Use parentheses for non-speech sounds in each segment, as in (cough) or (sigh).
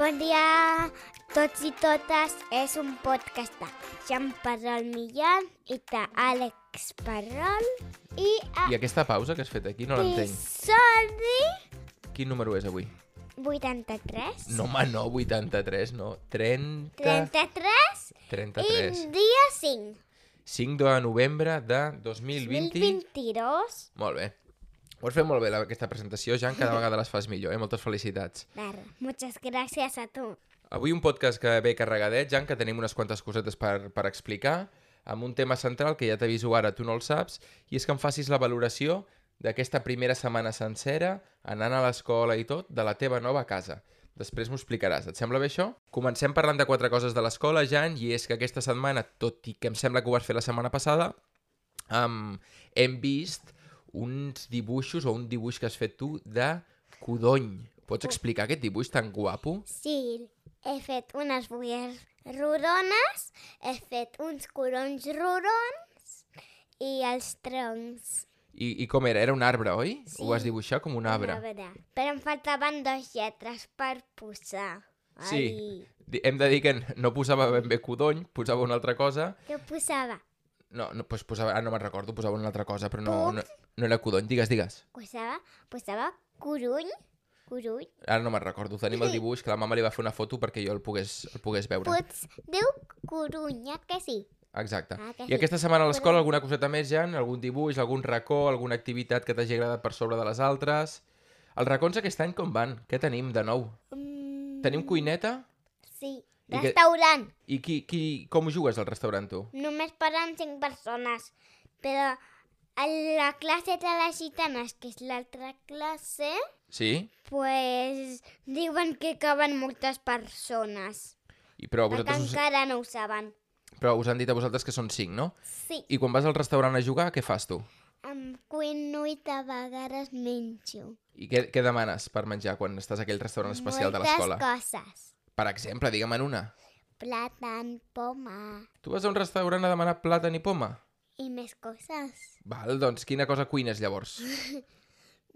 Bon dia a tots i totes. És un podcast de Jean Parrol Millán i de Àlex Parrol i a I aquesta pausa que has fet aquí no l'entenc. episodi Quin número és avui? 83. No, home, no, 83, no. 30... 33 33. i dia 5. 5 de novembre de 2020. 2022. Molt bé. Ho has fet molt bé, la- aquesta presentació, Jan, cada vegada les fas millor, eh? Moltes felicitats. Ber, muchas gràcies a tu. Avui un podcast que ve carregadet, Jan, que tenim unes quantes cosetes per, per explicar, amb un tema central que ja t'aviso ara, tu no el saps, i és que em facis la valoració d'aquesta primera setmana sencera, anant a l'escola i tot, de la teva nova casa. Després m'ho explicaràs. Et sembla bé això? Comencem parlant de quatre coses de l'escola, Jan, i és que aquesta setmana, tot i que em sembla que ho vas fer la setmana passada, um, hem vist uns dibuixos o un dibuix que has fet tu de codony. Pots explicar aquest dibuix tan guapo? Sí, he fet unes fulles rodones, he fet uns corons rodons i els troncs. I, I com era? Era un arbre, oi? Sí. Sí. Ho vas dibuixar com un arbre. Un arbre. Però em faltaven dues lletres per posar. Sí. Di- Hem de dir que no posava ben bé codony, posava una altra cosa. Ai, què posava? No, no doncs posava... Ah, no me'n recordo, posava una altra cosa, però no, no, no era codony. Digues, digues. Posava, posava coruny, coruny. Ara no me'n recordo. Tenim el dibuix, que la mama li va fer una foto perquè jo el pogués, el pogués veure. Pots, diu corunya, que sí? Exacte. Ah, que I sí. aquesta setmana a l'escola alguna coseta més, Jan? Algun dibuix, algun racó, alguna activitat que t'hagi agradat per sobre de les altres? Els racons aquest any com van? Què tenim de nou? Mm, Tenim cuineta? sí, I que- restaurant. I qui, qui, com ho jugues al restaurant, tu? Només paren cinc persones, però a la classe de les gitanes, que és l'altra classe, Sí? pues diuen que caben moltes persones. I però, Però que Ah, vosaltres us, encara no ho saben. però us han dit a vosaltres que són 5, no? Sí, I quan vas al restaurant a jugar, què fas tu? em cuino i de vegades menjo. I què, què demanes per menjar quan estàs a aquell restaurant especial de moltes l'escola? coses. Per exemple, digue'm en una. Plàtan, poma Tu vas a un restaurant a demanar plàtan i poma? i més coses. Val, doncs quina cosa cuines llavors?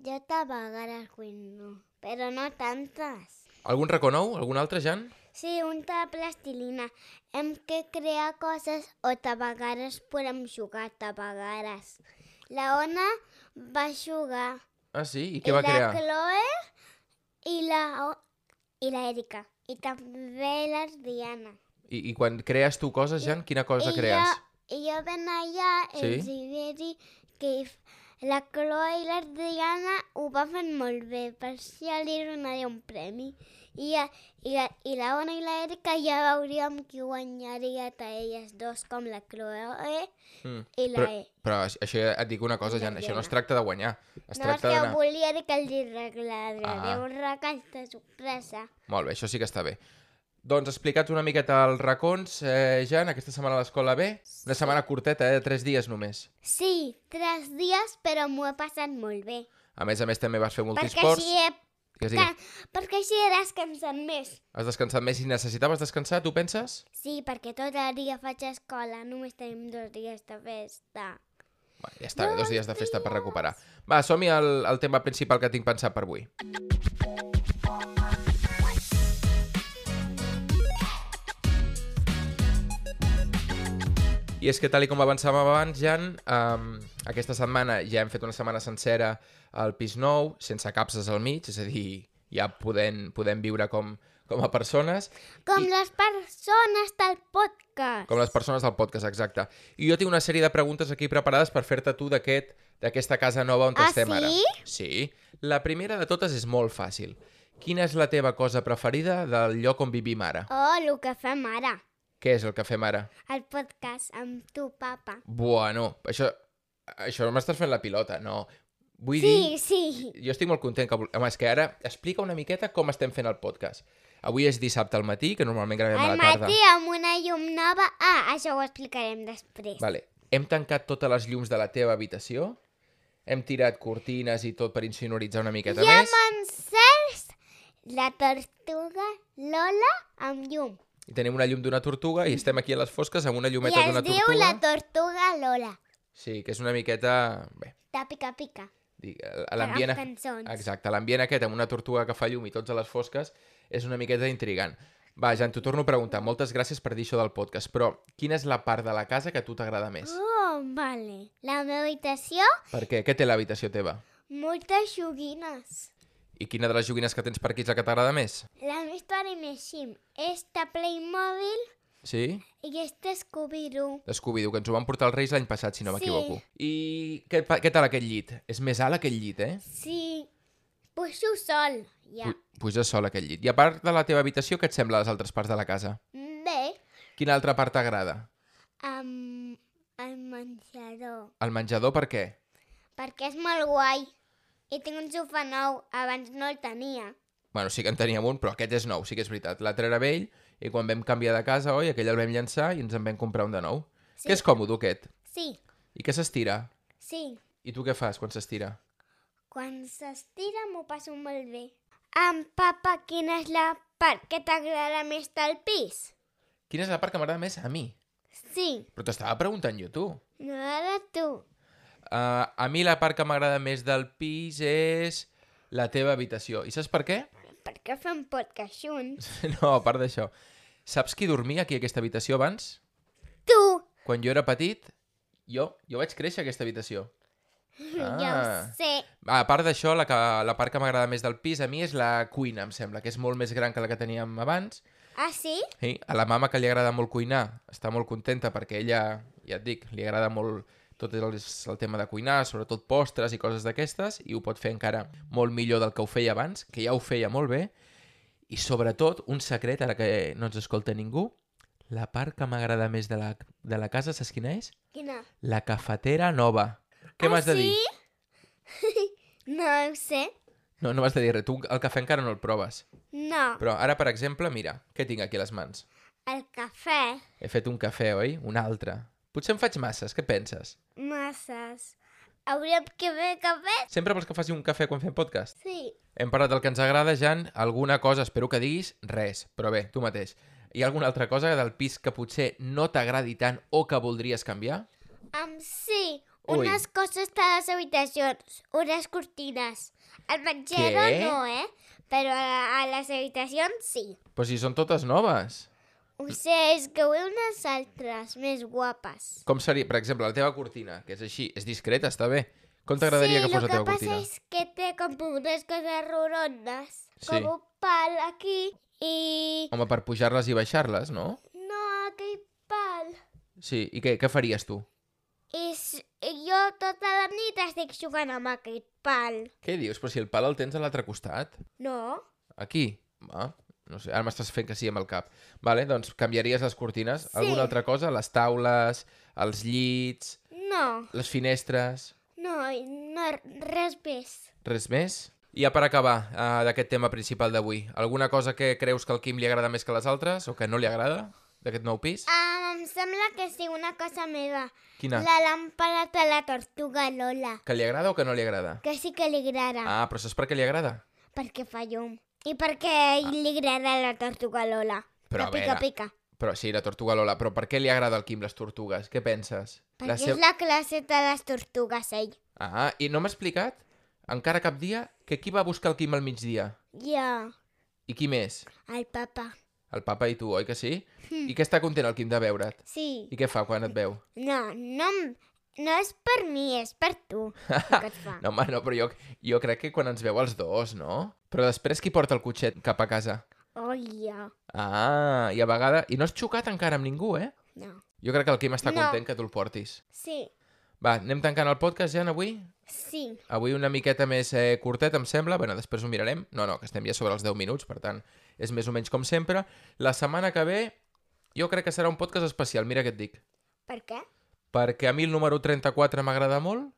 Jo de vegades cuino, però no tantes. Algun racó nou? Algun altre, Jan? Sí, un de plastilina. Hem que crear coses o de vegades podem jugar de vegades. La Ona va jugar. Ah, sí? I què va la crear? Chloe i la, O- i la Erika. I també la Diana. I, I quan crees tu coses, Jan, quina cosa I crees? Jo, I jo ben allà i Sí? els hi vaig dir que f- la Chloe i la Diana ho va fer molt bé, per això li donaré un premi. I, a- i, la, I la Ona i la Erika ja veuríem qui guanyaria a elles dos, com la Chloe Mm. i la Però, E. però aix- això ja et dic una cosa, Jan, això no es tracta de guanyar. Es No, és tracta que d'anar... volia dir que els hi regalaré Ah. un regal de sorpresa. Molt bé, això sí que està bé. Doncs explicats una miqueta els racons, eh, Jan, aquesta setmana a l'escola bé? Una setmana curteta, eh, de tres dies només. Sí, tres dies, però m'ho he passat molt bé. A més a més també vas fer Perquè multisports. així, he, Digues, que, digues. perquè així he descansat més. Has descansat més i necessitaves descansar, tu penses? Sí, perquè tot el dia faig escola, només tenim dos dies de festa. Bé, ja està bé, dos dies de festa per recuperar. Va, som-hi al, al tema principal que tinc pensat per avui. I és que tal i com avançàvem abans, Jan, um, aquesta setmana ja hem fet una setmana sencera al pis nou, sense capses al mig, és a dir, ja podem, podem viure com, com a persones, Com I- les persones del podcast. com les persones del podcast, exacte. I jo tinc una sèrie de preguntes aquí preparades per fer-te tu d'aquest d'aquesta casa nova on Ah, estem ara. sí? Sí. La primera de totes és molt fàcil. Quina és la teva cosa preferida del lloc on vivim ara? Oh, el que fem ara. Què és el que fem ara? El podcast amb tu, papa. Bueno, això, això m'estàs fent la pilota, no. Sí, Vull dir, sí. jo estic molt content que... vol- Home, és que ara explica una miqueta com estem fent el podcast. Avui és dissabte al matí, que normalment gravem a Al la tarda. matí amb una llum nova. Ah, això ho explicarem després. Vale. Hem tancat totes les llums de la teva habitació, hem tirat cortines i tot per insonoritzar una miqueta I amb més, en Cesc, la tortuga Lola amb llum. i tenim una llum d'una tortuga i estem aquí a les fosques amb una I llumeta es d'una diu tortuga. la tortuga Lola. Sí, que és una miqueta... Bé, De pica-pica. Dic, L'ambient... Però amb cançons. Exacte, l'ambient aquest amb una tortuga que fa llum i tots a les fosques és una miqueta intrigant. Va, Jan, t'ho torno a preguntar. Moltes gràcies per dir això del podcast, però quina és la part de la casa que a tu t'agrada més? Oh, vale. La meva habitació, Per què? Què té l'habitació teva? moltes joguines. I quina de les joguines que tens per aquí és la que t'agrada més? La meva història més xim. Esta Playmobil Sí? i este Scooby-Doo. Descobri, diu que ens ho van portar els Reis l'any passat, si no Sí. m'equivoco. I què, pa- què tal aquest llit? És més alt aquest llit, eh? Sí, puixo sol, ja. Pu- Puja sol aquest llit. I a part de la teva habitació, què et sembla les altres parts de la casa? Bé, Quina altra part t'agrada? amb el menjador, El menjador, per què? perquè és molt guai. I tinc un sofà nou, abans no el tenia. Bueno, sí que en teníem un, però aquest és nou, sí que és veritat. L'altre era vell, i quan vam canviar de casa, oi, aquell el vam llançar i ens en vam comprar un de nou. Sí. Sí. Que és còmode, aquest. Sí, I que s'estira. sí. I tu què fas quan s'estira? Quan s'estira m'ho passo molt bé. Am, papa, quina és la part que t'agrada més del pis? Quina és la part que m'agrada més? A mi. Sí, Però t'estava preguntant jo, tu. m'agrada tu. Uh, a mi la part que m'agrada més del pis és la teva habitació. I saps per què? (laughs) Per què fem podcast junts? No, a part d'això. Saps qui dormia aquí a aquesta habitació abans? Tu! Quan jo era petit, jo, jo vaig créixer a aquesta habitació. Ja ho Ah. sé. A part d'això, la, que, la part que m'agrada més del pis a mi és la cuina, em sembla, que és molt més gran que la que teníem abans. Ah, sí? Sí, a la mama que li agrada molt cuinar, està molt contenta perquè ella, ja et dic, li agrada molt tot el, el tema de cuinar, sobretot postres i coses d'aquestes, i ho pot fer encara molt millor del que ho feia abans, que ja ho feia molt bé, i sobretot, un secret, ara que no ens escolta ningú, la part que m'agrada més de la, de la casa, saps quina és? Quina? La cafetera nova. Ah, Què m'has de sí? dir? No ho sé. No, no m'has de dir res, tu el cafè encara no el proves. No, Però ara, per exemple, mira, què tinc aquí a les mans? el cafè, He fet un cafè, oi? Un altre. Potser en faig masses, què penses? masses. Hauríem que fer cafè? Sempre vols que faci un cafè quan fem podcast? Sí. Hem parlat del que ens agrada, Jan. Alguna cosa, espero que diguis, res. Però bé, tu mateix. Hi ha alguna altra cosa del pis que potser no t'agradi tant o que voldries canviar? Um, sí, Ui. unes coses de les habitacions, unes cortines. El menjador Què? no, eh? Però a, a les habitacions sí. Però si són totes noves. Ho sé, és que vull unes altres, més guapes. Com seria, per exemple, la teva cortina, que és així, és discreta, està bé. Com t'agradaria sí, que fos el la que teva passa cortina? és que té com unes coses rodondes, Sí. com un pal aquí i... Home, per pujar-les i baixar-les, no? No, aquell pal. Sí, i què, què faries tu? I s- i jo tota la nit estic jugant amb aquest pal. Què dius? Però si el pal el tens a l'altre costat. No? Aquí? Va, no sé, ara m'estàs fent que sí amb el cap. Vale, doncs canviaries les cortines? Sí. Alguna altra cosa? Les taules, els llits, No, les finestres, no, i no res més. res més? I ja per acabar uh, d'aquest tema principal d'avui, alguna cosa que creus que al Quim li agrada més que a les altres o que no li agrada d'aquest nou pis? Um, em sembla que sí, una cosa meva. Quina? La làmpara de la tortuga Lola. Que li agrada o que no li agrada? Que sí que li agrada, Ah, però saps per què li agrada? perquè fa llum. I perquè li agrada la tortuga Lola. Ah. Però que pica, a veure, pica. Però sí, la tortuga Lola, però per què li agrada al Quim les tortugues? Què penses? Perquè és la classe de les tortugues, ell. Ah, i no m'ha explicat, encara cap dia, que qui va buscar el Quim al migdia? Ja, I qui més? el papa. El papa i tu, oi que sí? I que està content el Quim de veure't? Sí. I què fa quan et veu? No, no, em- no és per mi, és per tu. (laughs) el que et fa. No, home, no, però jo, jo crec que quan ens veu els dos, no? Però després qui porta el cotxet cap a casa? Oh, ja. Ah, i a vegades... I no has xocat encara amb ningú, eh? No. Jo crec que el Quim està No. content que tu el portis. Sí, Va, anem tancant el podcast, Jan, avui? sí. Avui una miqueta més eh, curtet, em sembla. Bueno, després ho mirarem. No, no, que estem ja sobre els 10 minuts, per tant, és més o menys com sempre. La setmana que ve jo crec que serà un podcast especial, mira què et dic. Per què? perquè a mi el número 34 m'agrada molt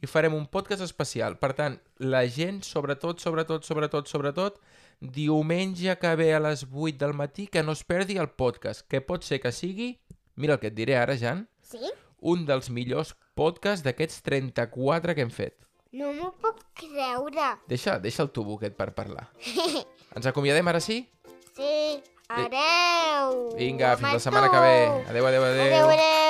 i farem un podcast especial. Per tant, la gent, sobretot, sobretot, sobretot, sobretot, diumenge que ve a les 8 del matí, que no es perdi el podcast, que pot ser que sigui, mira el que et diré ara, Jan, Sí? un dels millors podcasts d'aquests 34 que hem fet. No m'ho puc creure. Deixa, deixa el tubo aquest per (laughs) parlar. Ens acomiadem ara sí? Sí, adeu. Vinga, fins la setmana que Mato. ve. Adéu, adéu, adéu. Adeu, adeu.